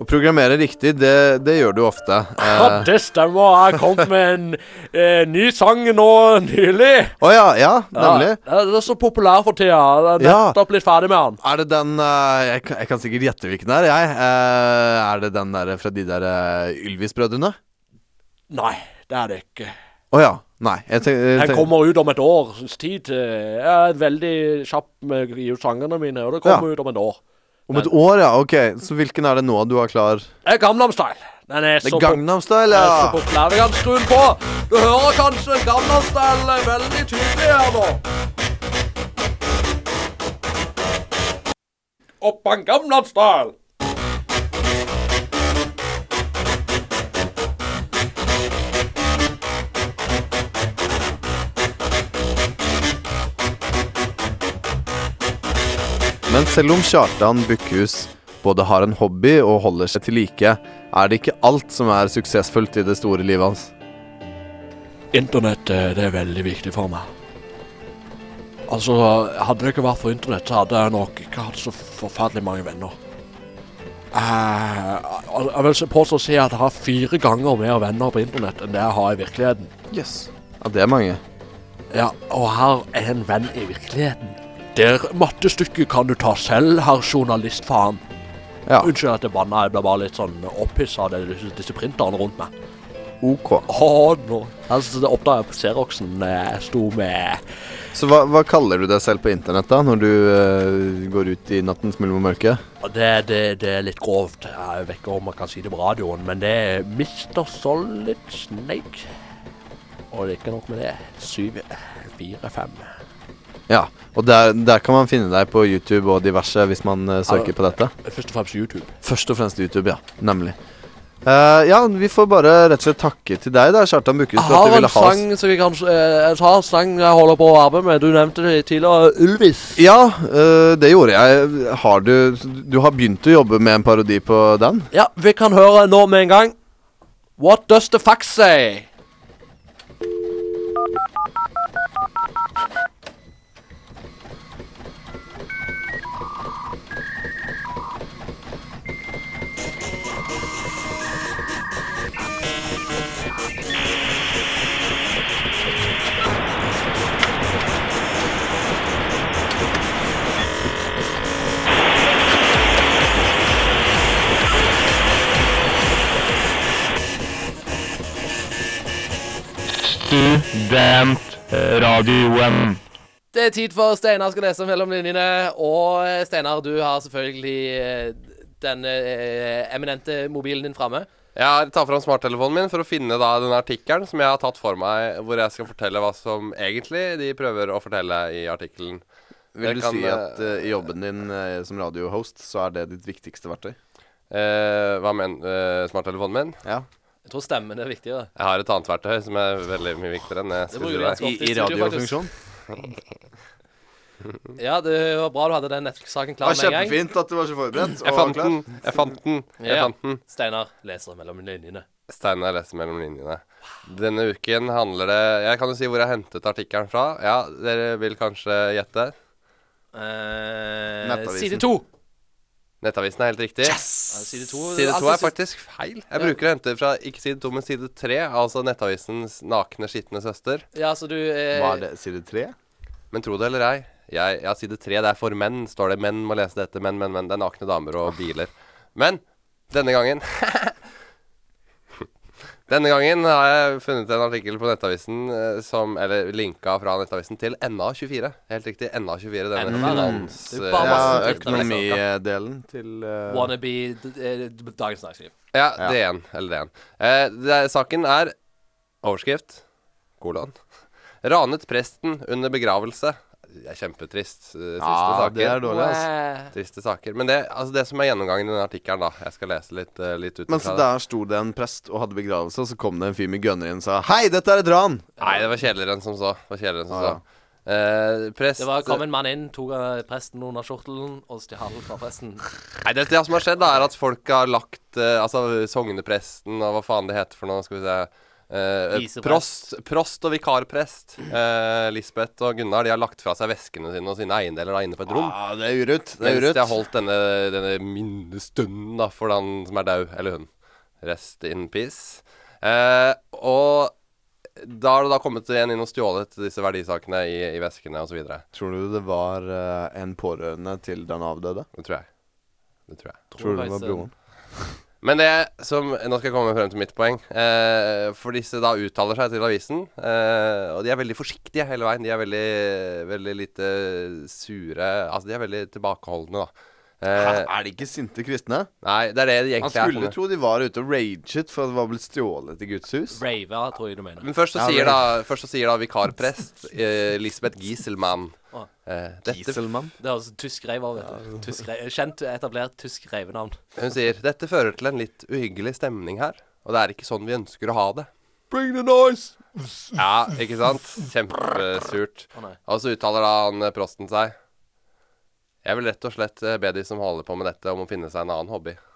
Speaker 3: Å programmere riktig, det, det gjør du ofte.
Speaker 4: Ja,
Speaker 3: Eh,
Speaker 4: det stemmer. Jeg kom med en eh, ny sang nå nylig.
Speaker 3: Å ja, ja, nemlig.
Speaker 4: Ja, det er så populær for tida. Jeg har
Speaker 3: Ja.
Speaker 4: nettopp blitt ferdig med den.
Speaker 3: Er det den eh, jeg, kan- jeg kan sikkert gjette hvilken det er, jeg. Eh, er det den der fra de der eh, Ylvis-brødrene?
Speaker 4: Nei, det er det ikke.
Speaker 3: Å ja. Nei. Jeg tenk, jeg
Speaker 4: Den
Speaker 3: tenk-
Speaker 4: kommer ut om et års tid. eh, Jeg er veldig kjapp med å gi ut sangene mine, og det kommer
Speaker 3: Ja.
Speaker 4: ut om et år.
Speaker 3: Om et år, ja. Ok. Så hvilken er det nå du har klar?
Speaker 4: Det er Gamnam Style. Den er
Speaker 3: Det
Speaker 4: så
Speaker 3: er
Speaker 4: populær.
Speaker 3: Gangnam Style,
Speaker 4: Den er så
Speaker 3: ja.
Speaker 4: populær. Vi kan skru den på. Du hører kanskje Gamnam Style er veldig tydelig her nå. Oppan Gamnam Style.
Speaker 3: Men selv om Kjartan Bukhus både har en hobby og holder seg til like, er det ikke alt som er suksessfullt i det store livet hans.
Speaker 4: Internett eh, det er veldig viktig for meg. Altså, Hadde det ikke vært for internett, så hadde jeg nok ikke hatt så forferdelig mange venner. Eh, al- jeg vil så påstå å si at jeg har fire ganger mer venner på internett enn det jeg har i virkeligheten.
Speaker 3: Ja, det er mange.
Speaker 4: Ja, Og her er en venn i virkeligheten. Der mattestykket kan du ta selv, herr journalistfaen.
Speaker 3: Ja,
Speaker 4: Unnskyld at jeg banna, jeg ble bare litt sånn opphissa av det- disse, disse printerne rundt meg.
Speaker 3: ok.
Speaker 4: Å, nå. Altså, det oppdaga jeg på Xeroxen. eh, Jeg sto med
Speaker 3: Så hva, hva kaller du deg selv på internett da, når du eh, går ut i nattens mulm og mørke?
Speaker 4: Og Det, det, det er litt grovt. Jeg vet ikke om man kan si det på radioen, men det er Mr. Solid Snake. Og det er ikke nok med det. Syv, fire, fem.
Speaker 3: Ja, og der, der kan man finne deg på YouTube og diverse hvis man eh, søker på dette.
Speaker 4: Først og fremst YouTube.
Speaker 3: Først og fremst YouTube, ja. Nemlig. Eh, ja, vi får bare rett og slett takke til deg der, Kjartan Bukhus,
Speaker 4: Jeg
Speaker 3: for at du
Speaker 4: har en
Speaker 3: ville ha oss.
Speaker 4: sang som jeg kan eh, Jeg har en sang jeg holder på å arbeide med. Du nevnte det tidligere. Ulvis.
Speaker 3: Ja, eh, det gjorde jeg. Har du, du har begynt å jobbe med en parodi på den?
Speaker 4: Ja, vi kan høre nå med en gang. What does the fax say?
Speaker 5: Studentradioen.
Speaker 1: Det er tid for Steinar skal lese mellom linjene. Og eh, Steinar, du har selvfølgelig eh, den eh, eminente mobilen din framme.
Speaker 2: Jeg tar fram smarttelefonen min for å finne da den artikkelen som jeg har tatt for meg, hvor jeg skal fortelle hva som egentlig de prøver å fortelle i artikkelen. Jeg
Speaker 3: Vil du
Speaker 2: kan,
Speaker 3: si
Speaker 2: eh,
Speaker 3: at eh, i jobben din eh, som radiohost, så er det ditt viktigste verktøy?
Speaker 2: Eh, hva mener eh, smarttelefonen min?
Speaker 3: Ja.
Speaker 1: Jeg tror stemmen er viktigere.
Speaker 2: Jeg har et annet verktøy som er veldig mye viktigere enn jeg
Speaker 1: Det
Speaker 2: skulle
Speaker 1: bruker
Speaker 2: si
Speaker 1: du
Speaker 2: deg.
Speaker 1: ganske ofte i, studio, faktisk. Ja, det var bra du hadde den Netflix-saken
Speaker 3: Det
Speaker 1: klar
Speaker 3: var
Speaker 1: med en gang.
Speaker 3: kjempefint at du var så forberedt.
Speaker 2: Jeg
Speaker 3: og
Speaker 2: fant
Speaker 3: klar.
Speaker 2: den! Jeg fant den! Jeg
Speaker 1: Ja.
Speaker 2: fant den.
Speaker 1: Steinar leser mellom linjene.
Speaker 2: Steinar leser mellom linjene. Denne uken handler det Jeg kan jo si hvor jeg hentet artikkelen fra. Ja, dere vil kanskje gjette?
Speaker 1: Eh,
Speaker 3: Nettavisen.
Speaker 1: side to.
Speaker 2: Nettavisen er helt riktig.
Speaker 1: Ja, Side to,
Speaker 2: Side to
Speaker 1: alltid
Speaker 2: er faktisk feil. Jeg bruker å hente fra ikke side to, men side tre. Altså Nettavisens nakne, skitne søster.
Speaker 1: sy- Ja, så du eh,
Speaker 3: Hva er det? Sier du tre?
Speaker 2: Men tro det eller ei, jeg, ja, side tre, det er for menn, står det. Menn må lese dette. Menn, menn, menn. Det er nakne damer og biler. Men denne gangen Denne gangen har jeg funnet en artikkel på Nettavisen eh, som Eller linka fra Nettavisen til NA24. Helt riktig. NA24, denne
Speaker 1: Mm.
Speaker 2: finans...
Speaker 1: Det er
Speaker 2: eh,
Speaker 1: bare
Speaker 3: Ja,
Speaker 1: masse dritt,
Speaker 3: Økonomidelen til eh,
Speaker 1: Wannabe d- eh, d- Dagens Næringsliv.
Speaker 2: Ja,
Speaker 3: Ja.
Speaker 2: DN. Eller DN. Eh, det er, saken er overskrift kolon. Ranet presten under begravelse. Det er kjempetrist. eh, Triste
Speaker 3: Ja,
Speaker 2: saker.
Speaker 3: det er dårlig, ass.
Speaker 1: Wow.
Speaker 2: Triste saker. Men det, altså det som er gjennomgangen i denne artikkelen, da Jeg skal lese litt, eh, litt ut
Speaker 3: Men
Speaker 2: fra
Speaker 3: så
Speaker 2: det.
Speaker 3: der sto det en prest og hadde begravelse, og så kom det en fyr med gunner inn og sa Hei, dette er et ran!
Speaker 2: Nei, det var kjedeligere enn som så. Det var kjedeligere enn som
Speaker 3: Ah, ja.
Speaker 2: så. Eh, prest
Speaker 1: Det var, kom en mann inn, tok eh, presten under skjortelen og stjal fra presten.
Speaker 2: Nei, det, det som har skjedd, da, er at folk har lagt eh, Altså sognepresten og hva faen det heter for noe, skal vi se eh,
Speaker 1: Viseprest.
Speaker 2: prost, prost og vikarprest eh, Lisbeth og Gunnar De har lagt fra seg veskene sine og sine eiendeler da inne på et rom.
Speaker 3: Ja, det er urutt. Det
Speaker 2: Mens
Speaker 3: er
Speaker 2: de har
Speaker 3: urutt.
Speaker 2: holdt denne, denne minnestunden da, for den som er død, eller hun. Rest in peace. Eh, og da har det da kommet en inn og stjålet disse verdisakene i, i veskene osv. Det
Speaker 3: Tror du det var eh, en pårørende til den avdøde?
Speaker 2: tror jeg. Det tror jeg.
Speaker 3: Tror du det var
Speaker 1: faktisk-
Speaker 3: broren?
Speaker 2: Men det som Nå skal jeg komme frem til mitt poeng. Eh, for disse da uttaler seg til avisen, eh, og de er veldig forsiktige hele veien. De er veldig, veldig lite sure Altså, de er veldig tilbakeholdne, da.
Speaker 3: Hæ,
Speaker 2: Eh,
Speaker 3: er de ikke sinte kristne?
Speaker 2: nei, det er det de
Speaker 3: Man
Speaker 2: egentlig er.
Speaker 3: skulle tro de var ute og raget for at det var blitt stjålet i Guds hus.
Speaker 1: Rave, tror jeg du mener.
Speaker 2: Men først så
Speaker 3: Ja,
Speaker 2: sier
Speaker 3: vel.
Speaker 2: da, først så sier da vikarprest eh, Lisbeth Gieselmann
Speaker 1: Å.
Speaker 2: eh, dette,
Speaker 3: Gieselmann.
Speaker 1: Det er altså tysk reiver, vet du. Tysk re kjent, etablert tysk reivenavn.
Speaker 2: Hun sier dette fører til en litt uhyggelig stemning her, og det er ikke sånn vi ønsker å ha det.
Speaker 3: Bring the noise!
Speaker 2: Ja, ikke sant? Kjempesurt.
Speaker 1: Å nei.
Speaker 2: Og så uttaler da han eh, prosten seg. Jeg vil rett og slett eh, be de som holder på med dette, om å finne seg en annen hobby.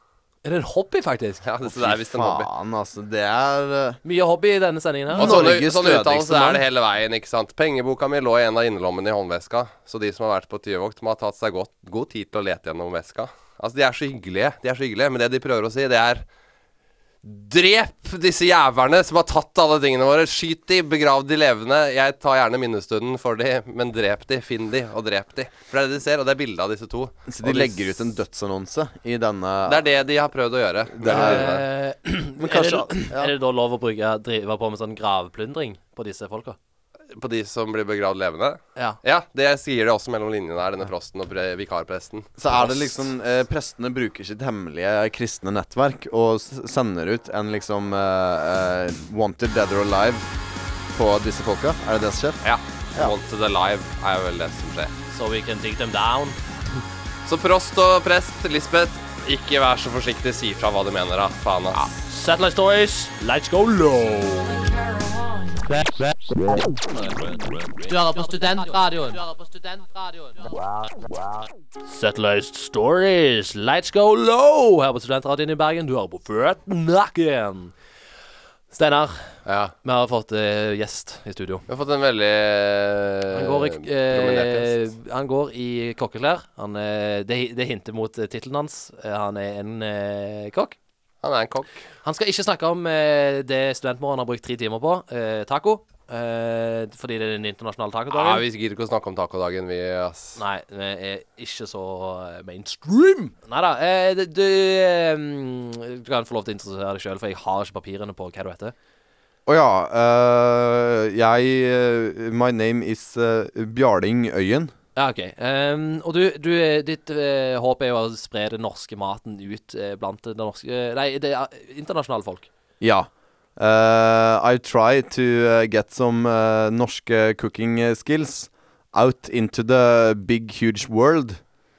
Speaker 1: Er det en hobby, faktisk?
Speaker 2: Ja, det, så det er visst en hobby.
Speaker 3: Faen, altså. Det er eh,
Speaker 1: Mye hobby i denne sendingen her.
Speaker 2: Og sånn sånne,
Speaker 3: Norges
Speaker 2: sånne uttalelser
Speaker 3: stødigste
Speaker 2: er
Speaker 3: mann.
Speaker 2: det hele veien, ikke sant. Pengeboka mi lå i en av innerlommene i håndveska, så de som har vært på tyvevakt, må ha tatt seg godt, god tid til å lete gjennom veska. Altså, de er så hyggelige, de er så hyggelige, men det de prøver å si, det er Drep disse jævlene som har tatt alle tingene våre. Skyt de, begrav de levende. Jeg tar gjerne minnestunden for de, men drep de, finn de, og drep de. For det er det de ser, og det er bildet av disse to.
Speaker 3: Så de
Speaker 2: Og
Speaker 3: legger ut en dødsannonse i denne
Speaker 2: Det er det de har prøvd å gjøre.
Speaker 3: Det er-
Speaker 1: Eh, er,
Speaker 3: Men
Speaker 1: det,
Speaker 3: kanskje
Speaker 1: er det da lov å bruke, drive på med sånn gravplyndring på disse folka?
Speaker 2: På de som blir begravd levende.
Speaker 1: Ja.
Speaker 2: Ja, det sier de også mellom linjene her, denne prosten og pre- vikarpresten.
Speaker 3: Så er det liksom eh, Prestene bruker sitt hemmelige eh, kristne nettverk og s sender ut en liksom eh, eh, Wanted dead or alive på disse folka. Er det det som skjer?
Speaker 2: Ja. Wanted Alive er vel det som skjer.
Speaker 1: So we can dig them down.
Speaker 2: Så prost og prest, Lisbeth, ikke vær så forsiktig. Si fra hva du mener, da. Faen, ass.
Speaker 1: Satellite Stories, let's go low!
Speaker 7: Du hører på studentradioen.
Speaker 1: Satellite Stories, let's go low! Her på Studentradioen i Bergen, du hører på Føtnakken. Steinar,
Speaker 2: Ja.
Speaker 1: vi har fått eh, gjest i studio.
Speaker 2: Vi har fått en veldig
Speaker 1: Han går i,
Speaker 2: prominent
Speaker 1: eh,
Speaker 2: gjest.
Speaker 1: han går i kokkeklær. Han, eh, det, det hinter mot eh, tittelen hans. Eh, han er en eh, kokk.
Speaker 2: Han er en kokk.
Speaker 1: Han skal ikke snakke om eh, det studentmoren har brukt tre timer på, eh, taco. Eh, fordi det er den internasjonale
Speaker 2: Ja,
Speaker 1: tacodagen.
Speaker 2: Ah, vi gidder ikke å snakke om tacodagen, vi, ass.
Speaker 1: Nei, vi er ikke så eh, mainstream. Nei da. Eh, det- ehm, du, eh, mm, du kan få lov til å interessere deg sjøl, for jeg har ikke papirene på hva du heter.
Speaker 3: Å ja. eh, jeg eh, My name is eh, Bjarling Øyen.
Speaker 1: Ja, OK. Ehm, og du, du eh, ditt eh, håp er jo å spre den norske maten ut eh, blant det norske Nei, det er internasjonale folk.
Speaker 3: Ja. Eh, I try to eh, get some eh, norske cooking eh, skills out into the big huge world.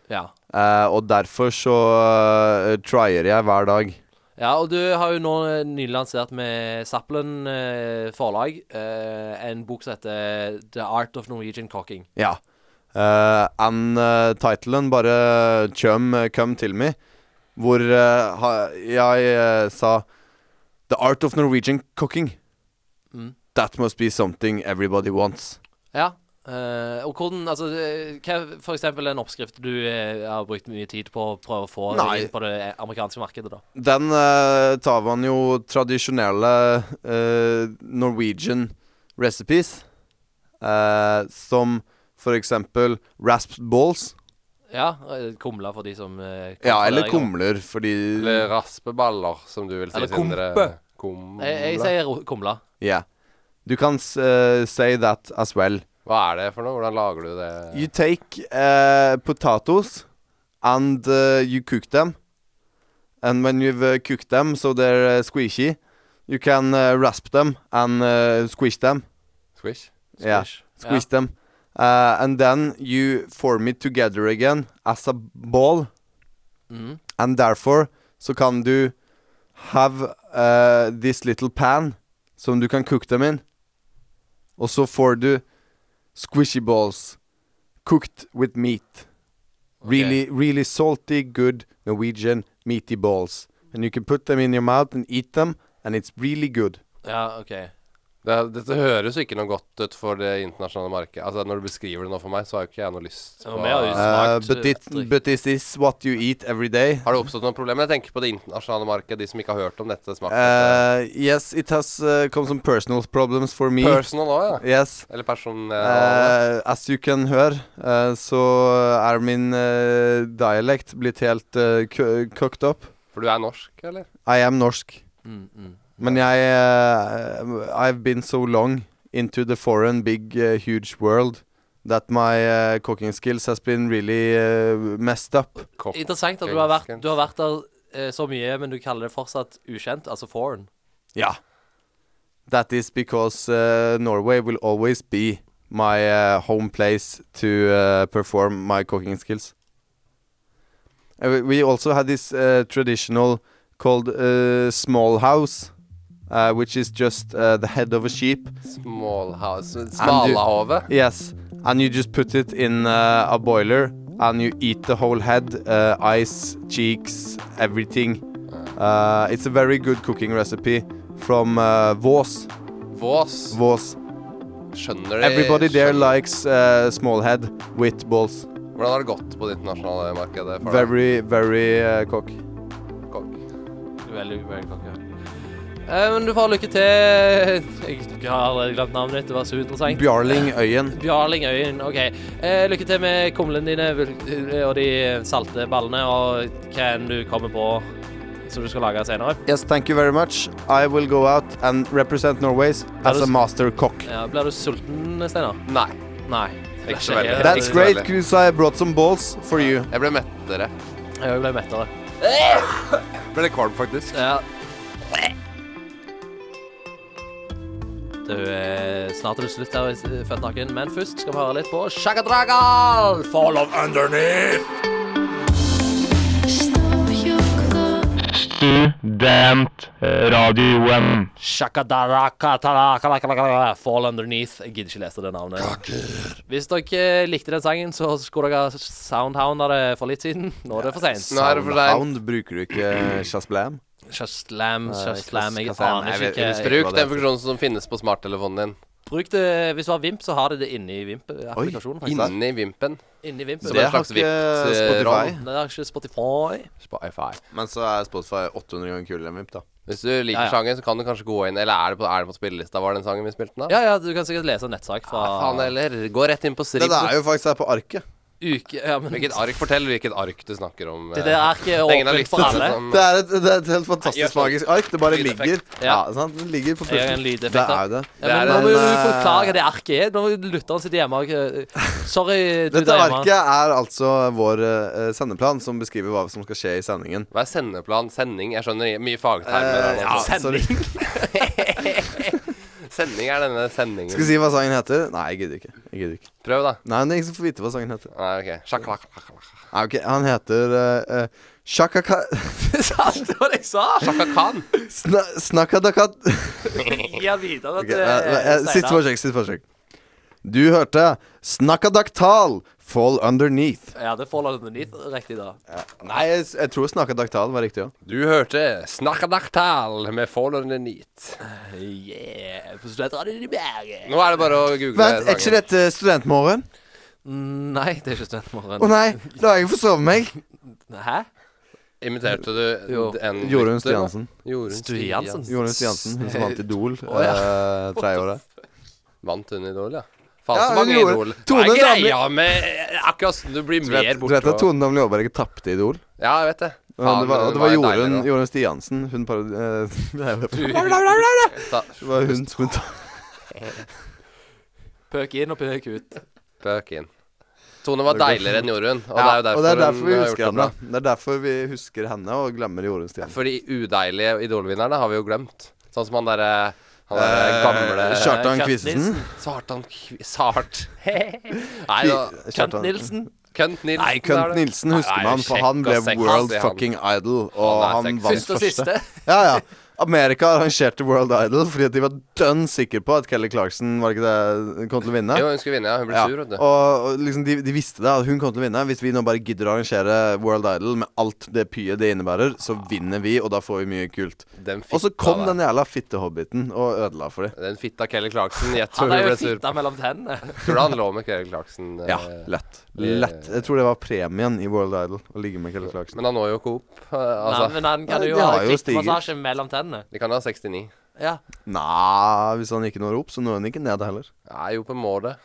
Speaker 1: Ja.
Speaker 3: Eh, og derfor så eh, tryer jeg hver dag.
Speaker 1: Ja, og du har jo nå eh, nylig lansert med Zappelen eh, forlag eh, en bok som heter The Art of Norwegian Cocking.
Speaker 3: Ja. Eh, and eh, titlen bare Chum eh, come til me. Hvor eh, ha, jeg eh, sa The art of Norwegian cooking.
Speaker 1: Mm.
Speaker 3: That must be something everybody wants.
Speaker 1: Ja. eh, og hvordan Altså, eh, hva er for eksempel en oppskrift du eh, har brukt mye tid på å prøve å få
Speaker 3: Nei.
Speaker 1: inn på det eh, amerikanske markedet, da?
Speaker 3: Den eh, tar man jo tradisjonelle eh, Norwegian recipes. eh, som for eksempel rasped balls.
Speaker 1: Ja, eh, kumle for de som eh, kan
Speaker 3: Ja,
Speaker 1: for
Speaker 3: eller
Speaker 1: deg,
Speaker 3: kumler, fordi
Speaker 2: Eller raspeballer, som du vil si.
Speaker 1: Eller
Speaker 2: Sindre.
Speaker 1: kompe.
Speaker 2: Komle.
Speaker 1: Jeg, jeg sier ro- kumle.
Speaker 3: Yeah. Du kan s- eh, say that as well.
Speaker 2: Hva er det for noe? Hvordan lager du det?
Speaker 3: You take uh, potatoes and uh, you cook them. And when you've uh, cooked them so they're uh, squishy, you can uh, rasp them and uh, squish them.
Speaker 2: Squish?
Speaker 3: Yeah, squish them. Uh, and then you form it together again as a ball.
Speaker 1: Mhm.
Speaker 3: And therefore så kan du have uh, this little pan som du kan cook dem in. Og så får du squishy balls cooked with meat. Really, really salty, good Norwegian meaty balls. And you can put them in your mouth and eat them, and it's really good.
Speaker 1: Ja, OK.
Speaker 2: Det, dette høres jo ikke noe godt ut for det internasjonale markedet. Altså, når du beskriver det nå for meg, så har jo ikke jeg noe lyst
Speaker 1: Ja,
Speaker 2: på
Speaker 1: men jeg har jo-
Speaker 2: Eh,
Speaker 3: Uh,
Speaker 1: Smart,
Speaker 3: but, it,
Speaker 1: drikk.
Speaker 3: but this is what you eat every day.
Speaker 2: Har det oppstått noen problemer? Jeg tenker på det internasjonale markedet, de som ikke har hørt om dette smaket.
Speaker 3: Uh, yes, it has uh, come some personal problems for me.
Speaker 2: Personal òg, ja.
Speaker 3: yes.
Speaker 2: Eller person... eh,
Speaker 3: Uh, as you can høre, uh, så er min uh, dialekt blitt helt uh, cu- cooked up.
Speaker 2: for du er norsk, eller?
Speaker 3: I am norsk.
Speaker 1: Mm, mm.
Speaker 3: Men jeg uh, I've been so long into the foreign big uh, huge world that my uh, cooking skills has been really uh, messed up.
Speaker 2: Kopp.
Speaker 1: Interessant at du har vært, du har vært der eh, så mye, men du kaller det fortsatt ukjent, altså foreign.
Speaker 3: Yeah. That is because uh, Norway will always be my uh, home place to uh, perform my cooking skills. Uh, we- we also had this uh, traditional called uh, small house, uh, which is just uh, the head of a sheep.
Speaker 2: Smalhouse
Speaker 3: And you-
Speaker 2: Smalahove.
Speaker 3: Yes, and you just put it in uh, a boiler and you eat the whole head, uh, eyes, cheeks, everything. Uh, it's a very good cooking recipe from uh, Vås.
Speaker 2: Vås.
Speaker 3: Vås.
Speaker 2: Skjønner de
Speaker 3: Everybody there
Speaker 2: skjønner-
Speaker 3: likes uh, small head with balls.
Speaker 2: Hvordan har det gått på det internasjonale markedet? for deg?
Speaker 3: Very, very uh, cock.
Speaker 2: Kokk.
Speaker 1: Veldig, veldig kake. Eh, men du får lykke til. Jeg har allerede glemt navnet ditt, det var så interessant.
Speaker 3: Bjarling Øyen.
Speaker 1: Bjarling Øyen, OK. Eh, lykke til med kumlene dine vil- eh, og de salte ballene og hva enn du kommer på som du skal lage senere.
Speaker 3: Yes, thank you very much. I will go out and represent Norways as a
Speaker 1: was-
Speaker 3: master cock.
Speaker 1: Ja, blir du sulten, Steinar?
Speaker 2: Nei.
Speaker 1: Nei.
Speaker 2: Ikke så veldig.
Speaker 3: That's
Speaker 2: Ikke
Speaker 3: great,
Speaker 2: dårlig.
Speaker 3: because I brought some balls for you.
Speaker 2: Jeg ble mettere.
Speaker 1: Jeg ble mettere.
Speaker 2: Ble det kvalm, faktisk?
Speaker 1: Ja. Du, eh, snart er det slutt her i eh, Født naken, men først skal vi høre litt på Shagadragal! Fall of Underneath!
Speaker 5: Studentradioen.
Speaker 1: Shagadragal, Fall Underneath. Jeg gidder ikke lese det navnet. Hvis dere eh, likte den sangen, så skulle dere soundhounda det for litt siden. Nå er det for seint.
Speaker 2: Nå er det for seint.
Speaker 3: Sound bruker du ikke, eh, Shazblam?
Speaker 1: Just slam,
Speaker 3: Nei,
Speaker 1: just slam. Jeg
Speaker 3: just slam.
Speaker 1: aner
Speaker 3: Jeg vet-
Speaker 1: ikke.
Speaker 3: jeg
Speaker 1: hva-
Speaker 3: husker-
Speaker 2: Bruk den funksjonen som finnes på smarttelefonen din.
Speaker 1: Bruk det hvis du har Vimp, så har de det inni Vimp-applikasjonen. faktisk.
Speaker 2: Inni Vimpen.
Speaker 1: Inni Vimp.
Speaker 2: Som
Speaker 3: Det
Speaker 2: en
Speaker 3: har
Speaker 2: slags
Speaker 3: ikke
Speaker 1: eh,
Speaker 3: Spotify.
Speaker 2: Vipps-rom.
Speaker 1: Det er ikke Spotify.
Speaker 2: Spotify.
Speaker 3: Men så er Spotify 800 ganger kulere enn Vimp, da.
Speaker 2: Hvis du liker
Speaker 1: Ja, ja.
Speaker 2: sangen, så kan du kanskje gå inn Eller er det på, er det på spillelista? Var det den sangen vi spilte nå?
Speaker 3: Ah,
Speaker 1: Ja, ja, du kan sikkert lese en nettsak fra
Speaker 2: Faen heller. Gå rett inn på Strip.
Speaker 3: Den er jo faktisk her på arket.
Speaker 1: uke ja, men,
Speaker 2: Hvilket ark? Fortell hvilket ark du snakker om.
Speaker 1: Det der er ikke
Speaker 2: Lenge har
Speaker 1: åpent
Speaker 2: lyst
Speaker 1: for
Speaker 2: til å se
Speaker 1: alle.
Speaker 2: sånn-
Speaker 3: Det er et, det er et helt fantastisk
Speaker 2: Nei, gjør sånn.
Speaker 3: magisk ark. Det bare
Speaker 2: Lydeffekt.
Speaker 3: ligger. Ja,
Speaker 1: Ja.
Speaker 3: sant? Det ligger på
Speaker 1: Jeg gjør en
Speaker 3: pulten.
Speaker 1: lydeffekt,
Speaker 3: Det
Speaker 1: da.
Speaker 3: er jo det.
Speaker 1: Ja, men
Speaker 2: Det er
Speaker 1: nå må du
Speaker 3: en, eh,
Speaker 1: forklare det arket er. Nå må jo lytteren sitte hjemme og eh, Sorry, du
Speaker 3: Dette
Speaker 1: der hjemme.
Speaker 3: arket er altså vår eh, sendeplan, som beskriver hva som skal skje i sendingen.
Speaker 2: Hva er sendeplan? Sending? Jeg skjønner mye fagtermer. her
Speaker 3: Eh,
Speaker 2: nå,
Speaker 3: ja,
Speaker 2: altså.
Speaker 3: sorry.
Speaker 2: Sending er denne sendingen.
Speaker 3: Skal vi si hva sangen heter? Nei, jeg gidder ikke. Jeg gidder ikke.
Speaker 2: Prøv, da.
Speaker 3: Nei, men ingen som får vite hva sangen heter.
Speaker 2: Nei, ok. Sjakk, lakk, lakk, lakk.
Speaker 3: Nei, ok, Han heter eh, eh, Shakaka...
Speaker 1: Sant, det var det jeg sa!
Speaker 2: Sjakka Khan.
Speaker 3: Sna, snakadakat
Speaker 1: Gi han videre
Speaker 3: Ok,
Speaker 1: til
Speaker 3: eh, eh,
Speaker 1: Steinar.
Speaker 3: Siste forsøk, siste forsøk. Du hørte Snakadaktal Fall Underneath.
Speaker 1: Ja, det får landet nytt riktig, da.
Speaker 3: Nei, jeg, s- jeg tror Snakadaktal var riktig òg.
Speaker 2: Du hørte Snakkadaktal med Fallon Neat.
Speaker 1: Eh, Yeah. På studentradioen i Bergen.
Speaker 2: Nå er det bare å google
Speaker 3: Vent, er ikke
Speaker 2: sangen.
Speaker 3: dette Studentmorgen? Mm,
Speaker 1: Nei, det er ikke studentmorgen.
Speaker 3: Å nei, la jeg forsove meg.
Speaker 1: Hæ?
Speaker 2: Imiterte du
Speaker 1: Jo.
Speaker 2: en
Speaker 3: Jorunn
Speaker 2: lytter, da?
Speaker 3: Stiansen.
Speaker 2: Jorunn
Speaker 1: Stiansen.
Speaker 2: Stiansen.
Speaker 3: Jorunn Stiansen, hun som vant Idol
Speaker 1: Å,
Speaker 3: eh, treåret.
Speaker 2: Vant hun Idol, ja? Faen, så
Speaker 3: Ja, hun
Speaker 2: mange
Speaker 3: gjorde-
Speaker 2: Idol. Hva
Speaker 3: Tone
Speaker 2: er
Speaker 3: Damli-
Speaker 2: greia med akkurat sånn du blir
Speaker 3: Du
Speaker 2: mer
Speaker 3: vet, du
Speaker 2: borte?
Speaker 3: vet at
Speaker 2: og-
Speaker 3: Tone Damli Aaberge tapte Idol?
Speaker 2: Ja, jeg vet det.
Speaker 3: Ja, det var, og det var
Speaker 2: jo deilig,
Speaker 3: Jorunn,
Speaker 2: da.
Speaker 3: Jorunn Stiansen. Hun eh, parodi...
Speaker 2: Ta-
Speaker 3: Det var hun hun ta-
Speaker 1: Pøk inn og pøk ut.
Speaker 3: Eh,
Speaker 2: Spøk inn. Tone var
Speaker 3: Det går
Speaker 2: deiligere enn Jorunn, og
Speaker 3: Ja,
Speaker 2: det er jo
Speaker 3: og det er derfor
Speaker 2: hun
Speaker 3: vi
Speaker 2: har
Speaker 3: husker
Speaker 2: gjort det
Speaker 3: henne.
Speaker 2: bra.
Speaker 3: Det er derfor vi husker henne og glemmer Jorunn Stiansen.
Speaker 2: For de udeilige Idol-vinnerne har vi jo glemt. Sånn som han derre han der gamle
Speaker 3: Eh, Kjartan
Speaker 1: Kjartan
Speaker 3: Kvistesen.
Speaker 2: Sartan Kvi- Sart. Nei da.
Speaker 3: Kvi-
Speaker 1: Kent
Speaker 3: Kjartan-
Speaker 1: Nilsen.
Speaker 2: Kønt Nilsen.
Speaker 3: Nei,
Speaker 2: der,
Speaker 3: Kønt
Speaker 2: du.
Speaker 3: Nilsen husker
Speaker 2: Nei,
Speaker 3: man, for
Speaker 2: sjekk
Speaker 3: han ble
Speaker 2: og sekk,
Speaker 3: world
Speaker 2: sier han.
Speaker 3: fucking idol. Og
Speaker 2: Han er
Speaker 3: han
Speaker 2: sexy.
Speaker 3: vant
Speaker 1: Første og siste.
Speaker 3: første. Ja, ja. Amerika arrangerte World Idol fordi at de var dønn sikre på at Kelly Clarkson var det ikke det, kom til å vinne.
Speaker 2: Jo, hun skulle vinne, ja. Hun ble
Speaker 3: Ja,
Speaker 2: sur, vet du.
Speaker 3: og og liksom de, de visste det, at hun kom til å vinne. Hvis vi nå bare gidder å arrangere World Idol med alt det pyet det innebærer, så vinner vi, og da får vi mye kult.
Speaker 2: Den
Speaker 3: Og så
Speaker 2: Ah. fitta
Speaker 3: kom
Speaker 2: der.
Speaker 3: den jævla fittehobbiten og ødela for dem.
Speaker 2: Den fitta Kelly Clarkson. Jeg tror
Speaker 1: Han
Speaker 2: hun
Speaker 1: er
Speaker 2: ble
Speaker 1: jo
Speaker 2: sur.
Speaker 1: fitta mellom tennene.
Speaker 2: Tror du han lå med Kelly Clarkson? eh,
Speaker 3: Ja, lett. Lett. Jeg tror det var premien i World Idol å ligge med Kelly Clarkson.
Speaker 2: Men han når jo ikke opp. eh,
Speaker 1: Nei,
Speaker 2: Altså,
Speaker 1: men han kan
Speaker 3: Nei,
Speaker 1: jo
Speaker 3: de
Speaker 1: ha
Speaker 3: har jo
Speaker 1: klikkmassasje mellom tennene.
Speaker 2: de kan ha 69.
Speaker 1: Ja.
Speaker 3: Nei, hvis han ikke når opp, så når han ikke ned heller.
Speaker 2: Nei, jo, på målet.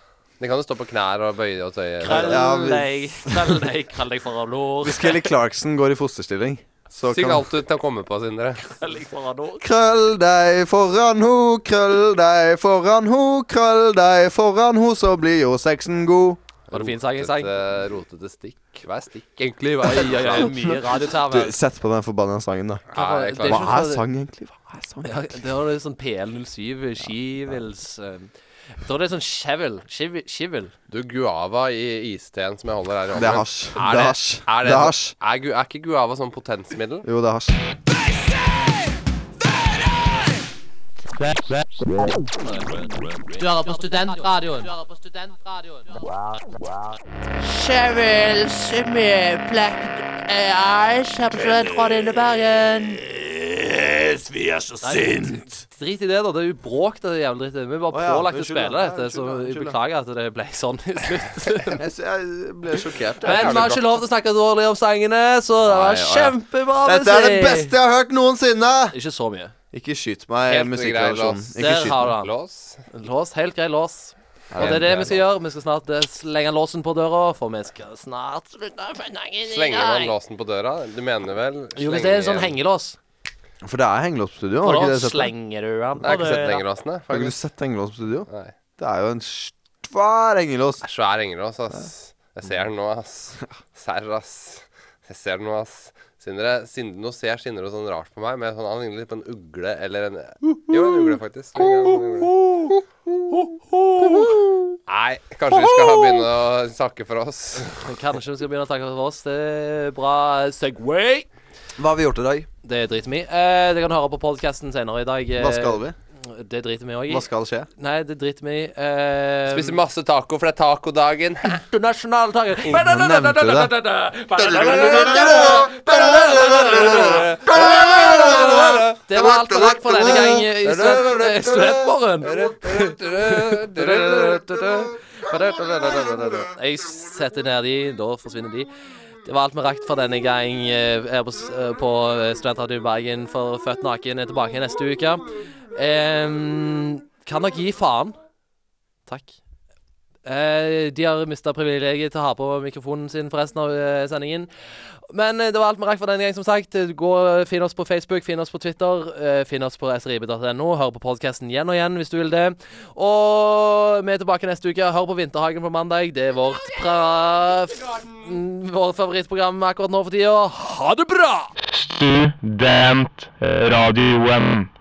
Speaker 2: De kan jo stå på knær og bøye og tøye.
Speaker 1: Krøll
Speaker 3: Ja, vi-
Speaker 1: deg, krøll deg, krøll deg foran nord,
Speaker 3: Hvis Kelly Clarkson går i fosterstilling, så
Speaker 2: Syng
Speaker 3: kan
Speaker 2: alt du kan komme på, Sindre.
Speaker 1: krøll deg foran nord.
Speaker 3: Krøll deg foran ho, krøll deg foran ho, krøll deg foran ho, så blir jo sexen god.
Speaker 1: Var det fin sang jeg sang?
Speaker 2: Rotete- Rotete eh, stikk. Hva er stikk, egentlig? Hva
Speaker 1: Oi,
Speaker 2: er
Speaker 1: oi, oi, mye
Speaker 3: Du,
Speaker 1: radiotermer.
Speaker 3: sett på den forbanna sangen, da.
Speaker 2: Nei, jeg
Speaker 1: Det er
Speaker 2: klarer ikke.
Speaker 3: Hva
Speaker 1: ikke
Speaker 3: er
Speaker 1: for-
Speaker 3: sang, egentlig? Hva er sang?
Speaker 1: Ja, det var det sånn PL07, Skivils eh, Jeg tror det er sånn Chevel. Shivel. Shivel.
Speaker 2: Du, guava i isteen som jeg holder her i hånden
Speaker 3: Det er hasj. Det er hasj.
Speaker 2: Er,
Speaker 3: Det er hasj.
Speaker 2: Er, gu- er ikke guava sånn potensmiddel?
Speaker 3: Jo, det er hasj.
Speaker 7: Du hører på studentradioen. Du hører på studentradioen. Chevils med Black Eyes eh, her på studentradioen i Bergen.
Speaker 1: Drit i det, da. Det er jo bråk. det er jævlig dritt. Vi er bare
Speaker 3: Å, ja.
Speaker 1: pålagt å
Speaker 3: Unnskyld,
Speaker 1: spille
Speaker 3: ja.
Speaker 1: dette, så
Speaker 3: Unnskyld, ja.
Speaker 1: jeg
Speaker 3: Unnskyld, ja.
Speaker 1: beklager at det ble sånn i slutt.
Speaker 3: Jeg, jeg ble sjokkert.
Speaker 1: Men vi har ikke lov til å snakke dårlig om sangene, så det
Speaker 2: Nei,
Speaker 1: var
Speaker 2: ja, ja.
Speaker 1: kjempebra.
Speaker 3: Dette er det
Speaker 1: musikk.
Speaker 3: beste jeg har hørt noensinne!
Speaker 1: Ikke så mye.
Speaker 3: Ikke skyt meg,
Speaker 2: Helt grei
Speaker 3: musikkredaksjonen.
Speaker 2: lås.
Speaker 3: Ikke
Speaker 1: Der
Speaker 3: skyt
Speaker 1: har
Speaker 3: meg.
Speaker 1: du han.
Speaker 2: Lås?
Speaker 1: Lås. Helt grei lås. Og det er det vi skal gjøre. Vi skal snart eh, slenge låsen på døra, for vi skal snart slutte på dagen i
Speaker 2: Slenger man
Speaker 1: dag.
Speaker 2: låsen på døra? Du mener vel
Speaker 1: Jo, hvis det er en sånn
Speaker 2: slenge-
Speaker 1: hengelås,
Speaker 3: For det er hengelås på studio. Har
Speaker 1: for
Speaker 3: du
Speaker 1: da
Speaker 3: ikke det sett det?
Speaker 1: slenger du den
Speaker 2: Jeg har
Speaker 1: på
Speaker 2: ikke sett
Speaker 1: døra.
Speaker 2: hengelåsene.
Speaker 3: Har ikke du
Speaker 2: faktisk.
Speaker 3: sett hengelås på studio?
Speaker 2: Nei.
Speaker 3: Det er jo en svær hengelås.
Speaker 2: Det er svær hengelås, ass. Jeg ser den nå, ass. Serr, ass. Jeg ser den nå, ass. Sindre, Sindre, nå ser Sindre noe sånn rart på meg, men sånn, han ligner litt på en ugle eller en Jo, en ugle, faktisk. En ugle. Nei, kanskje vi skal begynne å takke for oss.
Speaker 1: Kanskje vi skal begynne å takke for oss. Det er bra Segway.
Speaker 3: Hva har vi gjort i dag?
Speaker 1: Det driter vi i. Eh, dere kan høre på podkasten senere i dag. Eh,
Speaker 3: Hva skal vi?
Speaker 1: Det driter vi òg i.
Speaker 3: Hva skal skje?
Speaker 1: Nei, det driter vi i. Eh,
Speaker 2: Spise masse taco, for det er tacodagen.
Speaker 1: internasjonal taco.
Speaker 3: nevnte
Speaker 1: Det var alt for takk for denne gang i student- eh, Studentmorgen. Jeg setter ned de, da forsvinner de. Det var alt vi rakk for denne gang eh, her på, s- eh, på Studentradio Bergen for Født naken er tilbake neste uke. Em, kan dere gi faen? Takk. Eh, de har mista privilegiet til å ha på mikrofonen sin for resten av eh, sendingen. Men eh, det var alt vi rakk for denne gang, som sagt. Eh, Gå og Finn oss på Facebook, finn oss på Twitter, eh, finn oss på srib.no. Hør på podkasten igjen og igjen hvis du vil det. Og vi er tilbake neste uke. Hør på Vinterhagen på mandag. Det er vårt, pra... f- mm, vårt favorittprogram akkurat nå for tida. Ha det bra!
Speaker 5: Studentradioen.